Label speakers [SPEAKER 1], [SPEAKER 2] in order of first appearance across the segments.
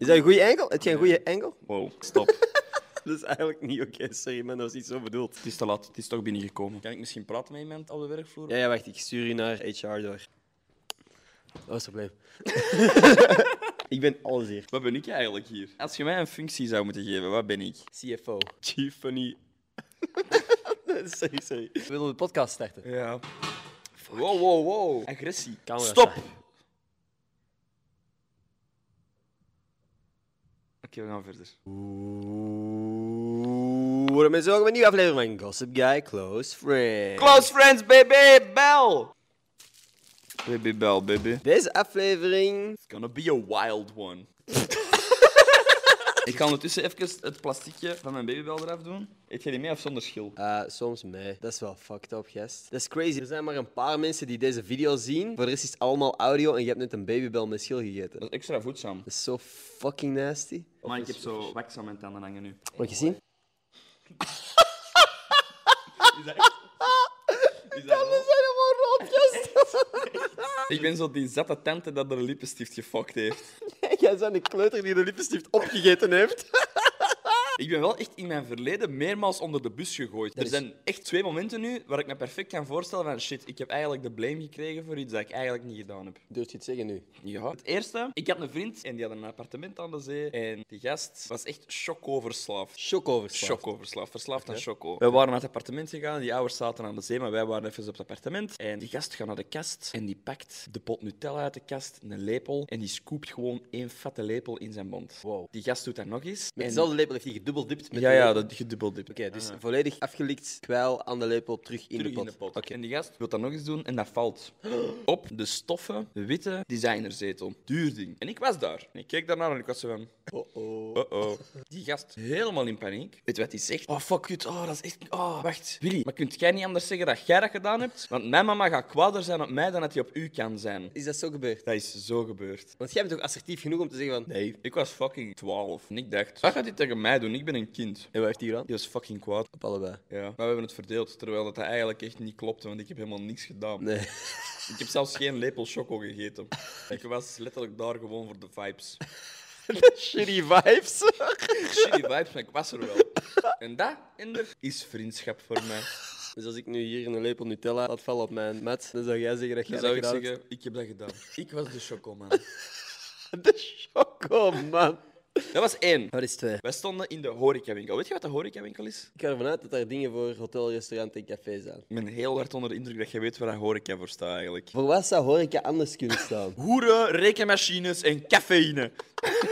[SPEAKER 1] Is dat een goede angle? Heb je een goede angle?
[SPEAKER 2] Wow, stop.
[SPEAKER 1] Dat is eigenlijk niet oké, sorry man, dat was niet zo bedoeld.
[SPEAKER 2] het is te laat. Het is toch binnengekomen. Kan ik misschien praten met iemand op de werkvloer?
[SPEAKER 1] Ja, ja, wacht, ik stuur je naar HR door. Dat is het probleem. ik ben alles hier.
[SPEAKER 2] Wat ben ik eigenlijk hier? Als je mij een functie zou moeten geven, wat ben ik?
[SPEAKER 3] CFO.
[SPEAKER 2] Chief Funny.
[SPEAKER 1] Sorry, sorry.
[SPEAKER 3] We willen de podcast starten.
[SPEAKER 2] Ja. Wow, wow, wow. Agressie.
[SPEAKER 3] Camera
[SPEAKER 2] Stop!
[SPEAKER 3] staan.
[SPEAKER 2] Oké, we gaan verder.
[SPEAKER 1] Oeh, mensen, welkom bij een nieuwe aflevering van Gossip Guy Close Friend.
[SPEAKER 2] Close friends, baby, bel! Baby, bel, baby.
[SPEAKER 1] Deze aflevering...
[SPEAKER 2] It's gonna be a wild one. ik ga ondertussen even het plasticje van mijn babybel eraf doen. Eet jij die mee of zonder schil?
[SPEAKER 1] eh, soms mee. Dat is wel fucked up, gast. Dat is crazy. Er zijn maar een paar mensen die deze video zien. Voor de rest is het allemaal audio en je hebt net een babybel met schil gegeten.
[SPEAKER 2] Dat is extra voedzaam.
[SPEAKER 1] Dat is zo fucking nasty.
[SPEAKER 2] Maar ik heb zo wax aan mijn tanden hangen nu.
[SPEAKER 1] Mag je zien?
[SPEAKER 2] Is dat echt? Is dat wel?
[SPEAKER 1] zijn allemaal rotjes.
[SPEAKER 2] Ik ben zo die zatte tante dat er lippenstift gefokt heeft.
[SPEAKER 1] Jij bent een kleuter die de lippenstift opgegeten heeft.
[SPEAKER 2] Ik ben wel echt in mijn verleden meermaals onder de bus gegooid. Er
[SPEAKER 1] is-
[SPEAKER 2] zijn echt twee momenten nu waar ik me perfect kan voorstellen van shit, ik heb eigenlijk de blame gekregen voor iets dat ik eigenlijk niet gedaan heb.
[SPEAKER 1] Durf je het zeggen nu?
[SPEAKER 2] Ja. Het eerste, ik had een vriend en die had een appartement aan de zee. En die gast was echt chocoverslaafd.
[SPEAKER 1] Chocoverslaafd.
[SPEAKER 2] Chocoverslaafd, verslaafd aan choco. We waren naar het appartement gegaan, die ouders zaten aan de zee, maar wij waren even op het appartement. En die gast gaat naar de kast en die pakt de pot Nutella uit de kast, een lepel, en die scoopt gewoon één fatte lepel in zijn mond.
[SPEAKER 1] Wow.
[SPEAKER 2] Die gast doet dat nog eens.
[SPEAKER 1] Met
[SPEAKER 2] en-
[SPEAKER 1] dezelfde lepel heeft hij gedubbeldipt. Met
[SPEAKER 2] Ja,
[SPEAKER 1] de
[SPEAKER 2] ja,
[SPEAKER 1] lepel.
[SPEAKER 2] dat gedubbeldipt.
[SPEAKER 1] Oké, dus volledig afgelikt, kwijl aan de lepel, terug in
[SPEAKER 2] Terug
[SPEAKER 1] de pot.
[SPEAKER 2] Oké. En die gast wil dat nog eens doen en dat valt op de stoffen witte designerzetel. Duur ding. En ik was daar. En ik keek daarnaar en ik was zo van...
[SPEAKER 1] Oh,
[SPEAKER 2] Oh-oh. Oh-oh. Die gast helemaal in paniek. Weet je wat hij zegt? Oh, fuck it. Oh, dat is echt... Oh, wacht. Willy, maar kunt jij niet anders zeggen dat jij dat gedaan hebt? Want mijn mama gaat kwaader zijn op mij dan dat hij op u kan zijn.
[SPEAKER 1] Is dat zo gebeurd?
[SPEAKER 2] Dat is zo gebeurd.
[SPEAKER 1] Want jij bent toch assertief genoeg om te zeggen van...
[SPEAKER 2] Nee, ik was fucking 12. En ik dacht, wat gaat hij tegen mij doen? Ik ben een kind.
[SPEAKER 1] En wat heeft hij gedaan?
[SPEAKER 2] Die was fucking kwaad.
[SPEAKER 1] Op allebei.
[SPEAKER 2] Ja. Maar we hebben het verdeeld, terwijl dat, dat eigenlijk echt niet klopte, want ik heb helemaal niks gedaan.
[SPEAKER 1] Nee.
[SPEAKER 2] Ik heb zelfs geen lepel choco gegeten. Ik was letterlijk daar gewoon voor de vibes.
[SPEAKER 1] Shitty vibes.
[SPEAKER 2] Shitty vibes, maar ik was er wel. En dat, Ender, is vriendschap voor mij.
[SPEAKER 1] dus als ik nu hier een lepel Nutella laat vallen op mijn mat, dan zou jij zeggen dat jij dat
[SPEAKER 2] Dan zou ik
[SPEAKER 1] gedaan
[SPEAKER 2] zeggen, ik heb dat gedaan. Ik was de chocoman.
[SPEAKER 1] hebt. De choco, man.
[SPEAKER 2] Dat was één.
[SPEAKER 1] Wat is twee?
[SPEAKER 2] Wij stonden in de horecawinkel. Weet je wat de horecawinkel is?
[SPEAKER 1] Ik ga ervan uit dat daar dingen voor hotel, restaurant en café zijn.
[SPEAKER 2] Ik ben heel hard onder de indruk dat je weet waar een horeca voor staat eigenlijk.
[SPEAKER 1] Voor wat zou horeca anders kunnen staan?
[SPEAKER 2] Hoeren, rekenmachines en cafeïne.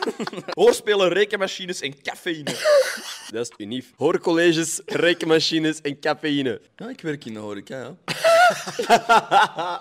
[SPEAKER 2] Hoorspelen, rekenmachines en cafeïne.
[SPEAKER 1] Dat is unief. Hoorcolleges, rekenmachines en cafeïne.
[SPEAKER 2] Ja, ik werk in de horeca, ja.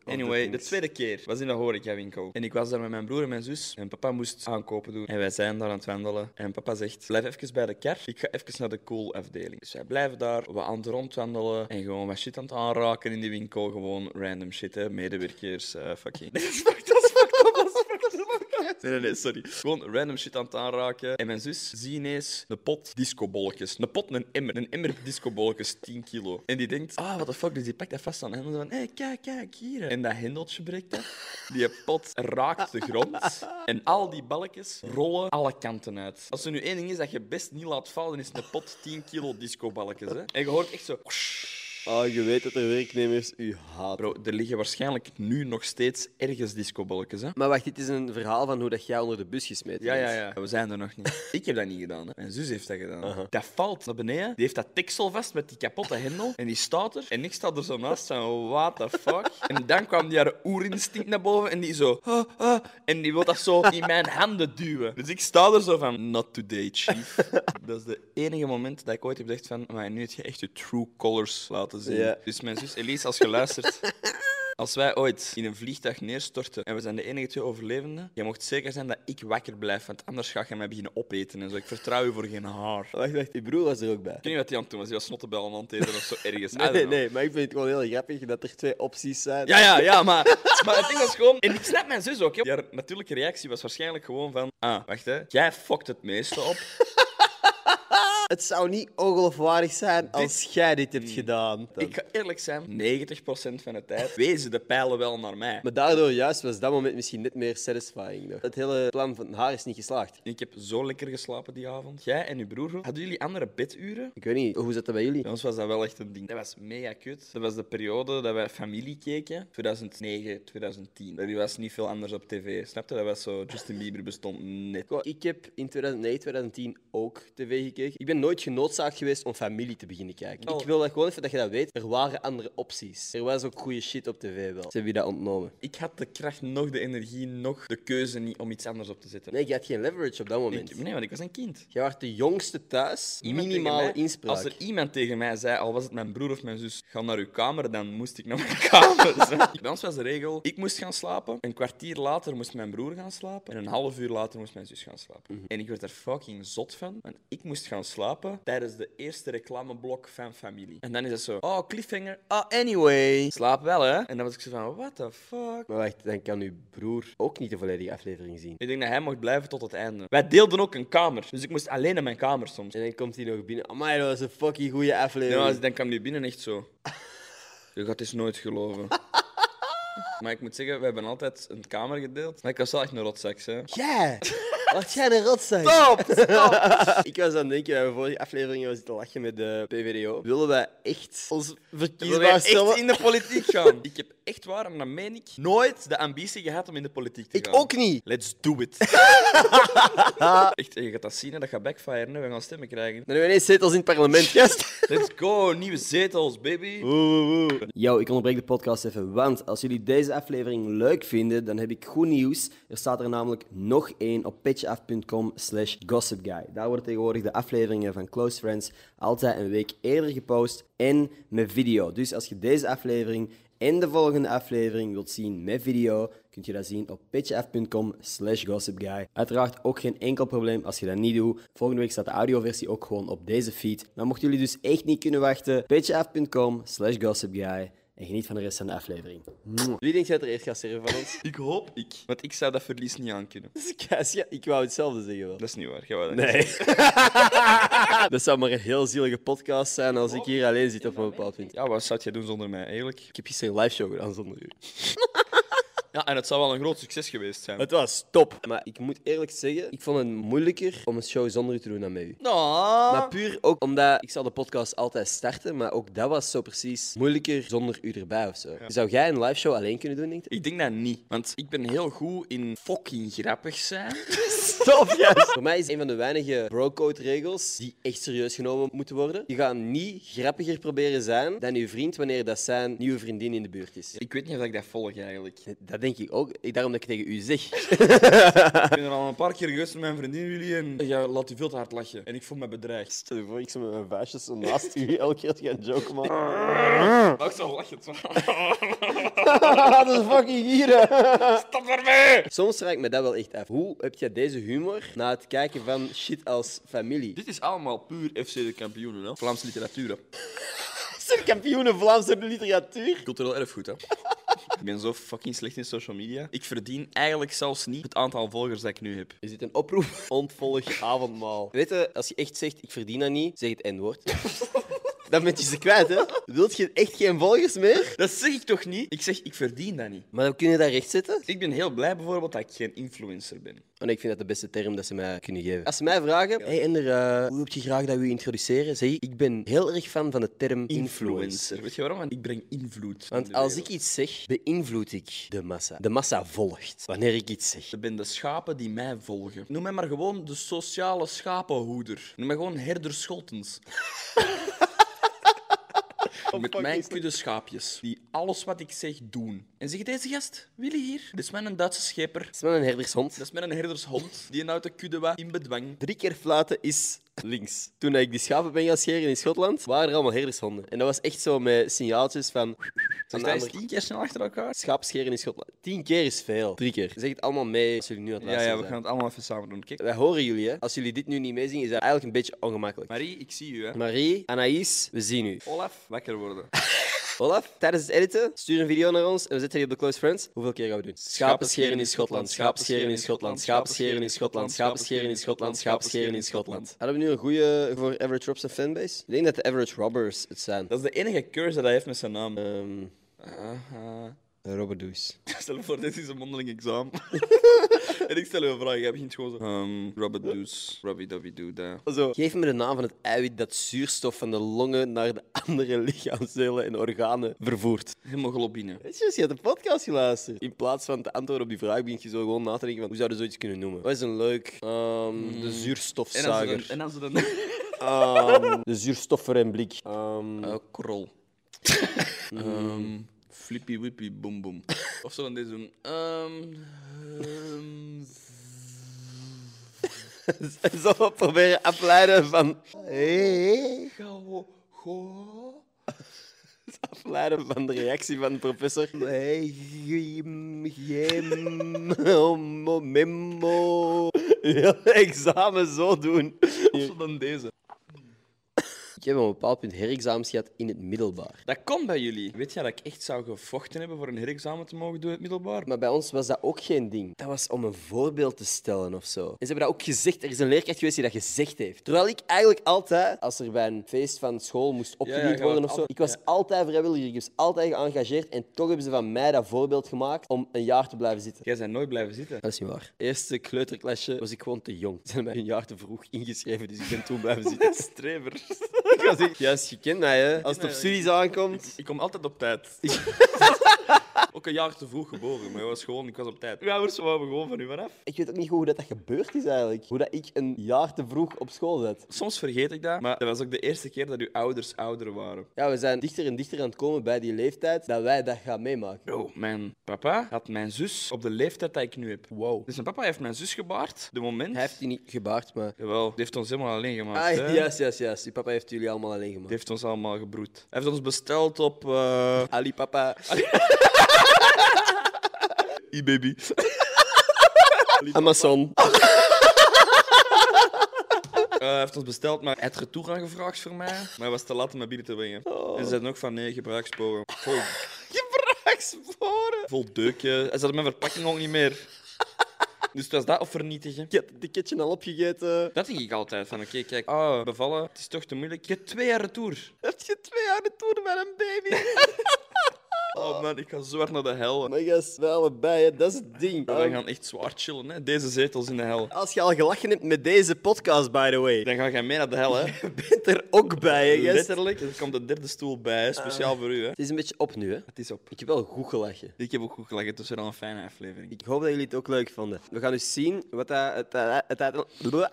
[SPEAKER 2] Anyway, de tweede keer was in de horecawinkel. En ik was daar met mijn broer en mijn zus. En papa moest aankopen doen. En wij zijn daar aan het wandelen. En papa zegt, blijf even bij de kar. Ik ga even naar de koelafdeling. Dus wij blijven daar, we aan het rondwandelen. En gewoon wat shit aan het aanraken in die winkel. Gewoon random shit, hè. Medewerkers, eh fucking... Dat is fucked, dat is fucked up, dat is fucked up. Nee, nee, nee, sorry. Gewoon random shit aan het aanraken. En mijn zus zie ineens een pot discobolletjes. Een pot, een emmer. Een emmer discobolletjes, 10 kilo. En die denkt, ah, what the fuck. Dus die pakt dat vast aan hem. En dan, hé, hey, kijk, kijk, hier. En dat hendeltje breekt af. Die pot raakt de grond. En al die balkjes rollen alle kanten uit. Als er nu één ding is dat je best niet laat vallen, is een pot 10 kilo discoballetjes. Hè. En je hoort echt zo...
[SPEAKER 1] Oh, je weet dat er werknemers u haten.
[SPEAKER 2] Bro, er liggen waarschijnlijk nu nog steeds ergens discoballetjes, hè.
[SPEAKER 1] Maar wacht, dit is een verhaal van hoe dat jij onder de bus gesmeten
[SPEAKER 2] Ja,
[SPEAKER 1] bent.
[SPEAKER 2] ja, ja. We zijn er nog niet. Ik heb dat niet gedaan. Hè. Mijn zus heeft dat gedaan. Dat valt naar beneden. Die heeft dat tiksel vast met die kapotte hendel. En die staat er. En ik sta er zo naast van, what the fuck? En dan kwam die haar oerinstinct naar boven. En die zo, ah, ah. En die wil dat zo in mijn handen duwen. Dus ik sta er zo van, not today, chief. Dat is de enige moment dat ik ooit heb gezegd van, maar nu heb je echt je true colors laten zien.
[SPEAKER 1] Ja.
[SPEAKER 2] Dus mijn zus Elise, als je luistert... Als wij ooit in een vliegtuig neerstorten en we zijn de enige twee overlevenden, je mocht zeker zijn dat ik wakker blijf, want anders ga je mij beginnen opeten en zo. Ik vertrouw je voor geen haar. Ik
[SPEAKER 1] Wacht, wacht, je broer was er ook bij.
[SPEAKER 2] weet niet wat hij aan het doen was, hij was snottebellen aan het eten of zo ergens. I
[SPEAKER 1] Nee,
[SPEAKER 2] don't
[SPEAKER 1] nee,
[SPEAKER 2] know.
[SPEAKER 1] nee, maar ik vind het gewoon heel grappig dat er twee opties zijn.
[SPEAKER 2] Ja, ja, ja, maar, maar het ding was gewoon... En ik snap mijn zus ook, hè. Haar natuurlijke reactie was waarschijnlijk gewoon van... Ah, wacht hè, jij fokt het meeste op.
[SPEAKER 1] Het zou niet ongeloofwaardig zijn als jij dit Hmm. hebt gedaan.
[SPEAKER 2] Ik ga eerlijk zijn, 90% van de tijd wezen de pijlen wel naar mij.
[SPEAKER 1] Maar daardoor juist was dat moment misschien net meer satisfying. Nog. Het hele plan van haar is niet geslaagd.
[SPEAKER 2] Ik heb zo lekker geslapen die avond. Jij en uw broer, hadden jullie andere beduren?
[SPEAKER 1] Ik weet niet, hoe zit dat bij jullie?
[SPEAKER 2] Bij ons was dat wel echt een ding. Dat was mega kut. Dat was de periode dat wij familie keken. 2009, 2010. Er was niet veel anders op tv. Snap je? Dat was zo... Justin Bieber bestond net.
[SPEAKER 1] Ik- Ik heb in 2009, 2010 ook tv gekeken. Ik ben nooit genoodzaakt geweest om familie te beginnen kijken.
[SPEAKER 2] Oh.
[SPEAKER 1] Ik wil dat gewoon even dat je dat weet. Er waren andere opties. Er was ook goede shit op tv wel. Ze hebben je dat ontnomen.
[SPEAKER 2] Ik had de kracht, nog de energie, nog de keuze niet om iets anders op te zetten.
[SPEAKER 1] Nee, je had geen leverage op dat moment.
[SPEAKER 2] Ik- nee want ik was een kind.
[SPEAKER 1] Jij was de jongste thuis.
[SPEAKER 2] Iemand
[SPEAKER 1] Minimale
[SPEAKER 2] tegen mij-
[SPEAKER 1] inspraak.
[SPEAKER 2] Als er iemand tegen mij zei, al was het mijn broer of mijn zus, ga naar uw kamer, dan moest ik naar mijn kamer. zo. Bij ons was de regel, ik moest gaan slapen, een kwartier later moest mijn broer gaan slapen en een half uur later moest mijn zus gaan slapen. En ik werd er fucking zot van, want ik moest gaan slapen tijdens de eerste reclameblok van familie. En dan is het zo, oh, cliffhanger, ah, anyway. Slaap wel, hè? En dan was ik zo van, what the fuck?
[SPEAKER 1] Maar wacht, dan kan uw broer ook niet de volledige aflevering zien.
[SPEAKER 2] Ik denk dat hij mocht blijven tot het einde. Wij deelden ook een kamer, dus ik moest alleen naar mijn kamer soms.
[SPEAKER 1] En dan komt hij nog binnen. Amai, dat was een fucking goede aflevering.
[SPEAKER 2] Ja, dus als ik denk aan nu binnen echt zo. Je gaat het nooit geloven. Maar ik moet zeggen, we hebben altijd een kamer gedeeld. Maar ik was wel echt een rotzak, hè.
[SPEAKER 1] Ja! Wat jij een rotzak.
[SPEAKER 2] Stop! Stop!
[SPEAKER 1] Ik was aan het denken, we hebben vorige aflevering was te lachen met de PVDO. Willen wij echt ons
[SPEAKER 2] Wil
[SPEAKER 1] verkiesbaar
[SPEAKER 2] jij
[SPEAKER 1] stellen?
[SPEAKER 2] echt in de politiek gaan? Ik heb echt waar, en dat meen ik, nooit de ambitie gehad om in de politiek te
[SPEAKER 1] Ik
[SPEAKER 2] gaan.
[SPEAKER 1] ook niet.
[SPEAKER 2] Let's do it. echt, je gaat dat zien, hè, dat gaat backfire. Hè. We gaan stemmen krijgen.
[SPEAKER 1] Dan hebben we ineens zetels in het parlement, gast.
[SPEAKER 2] Let's go, nieuwe zetels, baby.
[SPEAKER 1] Yo, ik onderbreek de podcast even, want als jullie deze aflevering leuk vinden, dan heb ik goed nieuws. Er staat er namelijk nog één op pitchaf.com slash gossipguy. Daar worden tegenwoordig de afleveringen van Close Friends altijd een week eerder gepost en met video. Dus als je deze aflevering en de volgende aflevering wilt zien met video, kunt je dat zien op pitchf.com slash gossipguy. Uiteraard ook geen enkel probleem als je dat niet doet. Volgende week staat de audioversie ook gewoon op deze feed. Maar mochten jullie dus echt niet kunnen wachten, pitchf.com slash gossipguy. En geniet van de rest van de aflevering. Wie denkt dat er eerst gaat serveren van ons?
[SPEAKER 2] Ik hoop ik. Want ik zou dat verlies niet aankunnen.
[SPEAKER 1] Dus, ik wou hetzelfde zeggen wel.
[SPEAKER 2] Dat is niet waar, jij wou dat niet.
[SPEAKER 1] Nee. dat zou maar een heel zielige podcast zijn als ik hier alleen zit op een bepaald punt.
[SPEAKER 2] Ja, wat zou jij doen zonder mij, eigenlijk?
[SPEAKER 1] Ik heb gisteren een live show gedaan zonder u.
[SPEAKER 2] Ja, en het zou wel een groot succes geweest zijn.
[SPEAKER 1] Het was top. Maar ik moet eerlijk zeggen, ik vond het moeilijker om een show zonder u te doen dan met u.
[SPEAKER 2] Oh.
[SPEAKER 1] Maar puur ook omdat ik zal de podcast altijd starten, maar ook dat was zo precies moeilijker zonder u erbij of zo. Zou jij een live show alleen kunnen doen, denk je?
[SPEAKER 2] Ik denk dat niet, want ik ben heel goed in fucking grappig zijn.
[SPEAKER 1] Stop, juist. Voor mij is een van de weinige brocode regels die echt serieus genomen moeten worden. Je gaat niet grappiger proberen zijn dan je vriend wanneer dat zijn nieuwe vriendin in de buurt is.
[SPEAKER 2] Ik weet niet of ik dat volg eigenlijk. Ik
[SPEAKER 1] Dat denk ik ook. Ik- Daarom dat ik tegen u zeg.
[SPEAKER 2] ben er al een paar keer geweest met mijn vriendin jullie en ja, laat u veel te hard lachen. En ik voel me bedreigd.
[SPEAKER 1] Stel je voor, ik zou met mijn vuistjes zo naast u elke keer gaan joke maken.
[SPEAKER 2] Maar ik zal lachen.
[SPEAKER 1] dat is fucking hier.
[SPEAKER 2] Stop ermee!
[SPEAKER 1] Ah. Soms raak ik me dat wel echt af. Hoe heb jij deze humor na het kijken van shit als familie?
[SPEAKER 2] Dit is allemaal puur FC de kampioenen, hè? Vlaamse literatuur. Hè?
[SPEAKER 1] Zijn kampioenen Vlaamse literatuur?
[SPEAKER 2] Cultureel erfgoed, hè? ik ben zo fucking slecht in social media. Ik verdien eigenlijk zelfs niet het aantal volgers dat ik nu heb.
[SPEAKER 1] Is dit een oproep? Ontvolg avondmaal. Weet je, als je echt zegt, ik verdien dat niet, zeg het N-woord. Dan ben je ze kwijt, hè? Wilt je echt geen volgers meer?
[SPEAKER 2] Dat zeg ik toch niet? Ik zeg, ik verdien dat niet.
[SPEAKER 1] Maar dan kun je dat rechtzetten?
[SPEAKER 2] Ik ben heel blij bijvoorbeeld dat ik geen influencer ben.
[SPEAKER 1] Oh nee, ik vind dat de beste term dat ze mij kunnen geven. Als ze mij vragen, hey Ender, eh, hoe heb je graag dat we je introduceren? Zeg ik, ik ben heel erg fan van de term influencer.
[SPEAKER 2] Weet je waarom? Want ik breng invloed. in
[SPEAKER 1] Want
[SPEAKER 2] de
[SPEAKER 1] als ik
[SPEAKER 2] wereld.
[SPEAKER 1] iets zeg, beïnvloed ik de massa. De massa volgt wanneer ik iets zeg.
[SPEAKER 2] Dat ben de schapen die mij volgen. Noem mij maar gewoon de sociale schapenhoeder. Noem mij gewoon herder Scholtens. Met mijn kudde schaapjes, die alles wat ik zeg doen. En zeg deze gast, Willy hier. Dit is met een Duitse scheper.
[SPEAKER 1] Het is wel een herdershond.
[SPEAKER 2] Dat is met een herdershond. Die houdt de kudde wat in bedwang.
[SPEAKER 1] Drie keer fluiten is links. Toen ik die schapen ben gaan scheren in Schotland, waren er allemaal herdershonden. En dat was echt zo met signaaltjes van...
[SPEAKER 2] Zeg
[SPEAKER 1] Aan de
[SPEAKER 2] Dus dat eens
[SPEAKER 1] andere...
[SPEAKER 2] tien keer snel achter elkaar.
[SPEAKER 1] Schaap scheren in Schotland. Tien keer is veel. Drie keer. Zeg het allemaal mee als jullie nu aan het
[SPEAKER 2] Ja,
[SPEAKER 1] luisteren
[SPEAKER 2] ja, we gaan het allemaal even samen doen. Kijk,
[SPEAKER 1] zijn. Wij horen jullie, hè. Als jullie dit nu niet meezien, is dat eigenlijk een beetje ongemakkelijk.
[SPEAKER 2] Marie, ik zie u, hè.
[SPEAKER 1] Marie, Anaïs, we zien u.
[SPEAKER 2] Olaf, wakker worden.
[SPEAKER 1] Olaf, tijdens het editen, stuur een video naar ons en we zetten die op de Close Friends. Hoeveel keer gaan we doen?
[SPEAKER 2] Schapenscheren in Schotland, schapenscheren in Schotland, schapenscheren in Schotland, schapenscheren in Schotland, schapenscheren in Schotland.
[SPEAKER 1] Hadden we nu een goede voor Average Robs en fanbase? Ik denk dat de Average Robbers het zijn.
[SPEAKER 2] Dat is de enige curse dat hij heeft met zijn naam.
[SPEAKER 1] Ehm
[SPEAKER 2] Aha.
[SPEAKER 1] Robberdoes.
[SPEAKER 2] Stel je voor, dit is een mondeling examen. en ik stel je een vraag, jij begint gewoon zo. Um, Robert Does, Robbie Dobby Doo, daar.
[SPEAKER 1] Zo. Geef me de naam van het eiwit dat zuurstof van de longen naar de andere lichaamsdelen en organen vervoert.
[SPEAKER 2] Hemoglobine.
[SPEAKER 1] Weet je, als je hebt de podcast geluisterd. In plaats van te antwoorden op die vraag, begin je zo gewoon na te denken van hoe zouden we zoiets kunnen noemen? Wat is een leuk? Ehm, De
[SPEAKER 2] En dan ze
[SPEAKER 1] zuurstofzuiger.
[SPEAKER 2] een, en dan ze een
[SPEAKER 1] Ehm, de zuurstoffer en blik. Ehm,
[SPEAKER 2] Eh, krol. Ehm, flippy whippy boom boom. Of zo dan deze doen. Ehm, ehm,
[SPEAKER 1] Zal we proberen afleiden van...
[SPEAKER 2] Gao. Go.
[SPEAKER 1] Afleiden van de reactie van professor. Memo, memo. Heel examen zo doen.
[SPEAKER 2] Of zo dan deze.
[SPEAKER 1] Ik heb op een bepaald punt herexamens gehad in het middelbaar.
[SPEAKER 2] Dat komt bij jullie. Weet jij dat ik echt zou gevochten hebben voor een herexamen te mogen doen in het middelbaar?
[SPEAKER 1] Maar bij ons was dat ook geen ding. Dat was om een voorbeeld te stellen of zo. En ze hebben dat ook gezegd. Er is een leerkracht geweest die dat gezegd heeft. Terwijl ik eigenlijk altijd, als er bij een feest van school moest
[SPEAKER 2] Ja, ja,
[SPEAKER 1] opgediend
[SPEAKER 2] je
[SPEAKER 1] worden
[SPEAKER 2] was
[SPEAKER 1] of zo, ik
[SPEAKER 2] altijd-
[SPEAKER 1] was
[SPEAKER 2] ja.
[SPEAKER 1] altijd vrijwilliger. Ik was altijd geëngageerd. En toch hebben ze van mij dat voorbeeld gemaakt om een jaar te blijven zitten.
[SPEAKER 2] Jij bent nooit blijven zitten.
[SPEAKER 1] Dat is niet waar. Eerste kleuterklasje was ik gewoon te jong. Ze hebben mij een jaar te vroeg ingeschreven, dus ik ben toen blijven zitten.
[SPEAKER 2] Strever.
[SPEAKER 1] ik was echt... Juist, je kent mij, hè. Als het op
[SPEAKER 2] mij,
[SPEAKER 1] studies aankomt...
[SPEAKER 2] Ik kom altijd op tijd. Ook een jaar te vroeg geboren, maar ik was, gewoon, ik was op tijd. Ja, we wouden gewoon van u vanaf.
[SPEAKER 1] Ik weet ook niet goed hoe dat, dat gebeurd is eigenlijk. Hoe dat ik een jaar te vroeg op school zat.
[SPEAKER 2] Soms vergeet ik dat, maar dat was ook de eerste keer dat uw ouders ouder waren.
[SPEAKER 1] Ja, we zijn dichter en dichter aan het komen bij die leeftijd dat wij dat gaan meemaken.
[SPEAKER 2] Bro, mijn papa had mijn zus op de leeftijd dat ik nu heb.
[SPEAKER 1] Wow.
[SPEAKER 2] Dus mijn papa heeft mijn zus gebaard. De moment.
[SPEAKER 1] Hij heeft die niet gebaard, maar...
[SPEAKER 2] Jawel, die heeft ons helemaal alleen gemaakt.
[SPEAKER 1] Ah,
[SPEAKER 2] hè.
[SPEAKER 1] juist, juist, juist. Die papa heeft jullie allemaal alleen
[SPEAKER 2] Die
[SPEAKER 1] gemaakt.
[SPEAKER 2] heeft ons allemaal gebroed. Hij heeft ons besteld op. eh
[SPEAKER 1] Ali, papa.
[SPEAKER 2] e-baby.
[SPEAKER 1] Amazon.
[SPEAKER 2] Eh, Hij heeft ons besteld, maar hij had retour aangevraagd voor mij. Maar hij was te laat om mij binnen te brengen. Dus En ze zeiden ook van nee, gebruiksporen. Vol,
[SPEAKER 1] Gebruiksporen.
[SPEAKER 2] vol deukje. Hij zat mijn verpakking al niet meer. Dus het was dat of vernietigen.
[SPEAKER 1] Ik heb het ticketje al opgegeten.
[SPEAKER 2] Dat denk ik altijd. Van oké, kijk, ah, bevallen, het is toch te moeilijk. Je hebt twee jaar retour.
[SPEAKER 1] Heb je twee jaar de toer met een baby?
[SPEAKER 2] Oh man, ik ga zo hard naar de hel.
[SPEAKER 1] Maar gast, wij allebei, hè, dat is het ding.
[SPEAKER 2] We gaan echt zwaar chillen, hè. Deze zetels in de hel.
[SPEAKER 1] Als je al gelachen hebt met deze podcast, by the way,
[SPEAKER 2] Dan ga jij mee naar de hel, hè.
[SPEAKER 1] je bent er ook bij, hè, gast?
[SPEAKER 2] Letterlijk, er komt de derde stoel bij, hè. speciaal voor u, hè.
[SPEAKER 1] Het is een beetje op nu, hè?
[SPEAKER 2] Het is op.
[SPEAKER 1] Ik heb wel goed gelachen.
[SPEAKER 2] Ik heb ook goed gelachen, het was weer al een fijne aflevering.
[SPEAKER 1] Ik hoop dat jullie het ook leuk vonden. We gaan dus zien wat dat... Het, het, het, Oh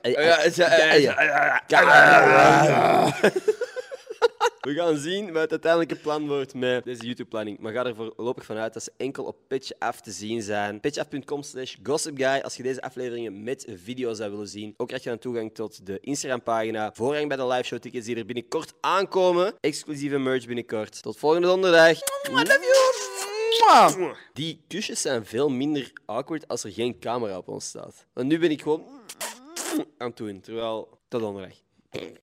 [SPEAKER 1] het, We gaan zien wat het uiteindelijke plan wordt met deze YouTube-planning. Maar ga er voorlopig vanuit dat ze enkel op PitchAf te zien zijn. PitchAf.com slash gossipguy als je deze afleveringen met video zou willen zien. Ook krijg je dan toegang tot de Instagram-pagina. Voorrang bij de liveshow tickets die er binnenkort aankomen. Exclusieve merch binnenkort. Tot volgende donderdag. Die kusjes zijn veel minder awkward als er geen camera op ons staat. Want nu ben ik gewoon aan het doen, terwijl... Tot donderdag.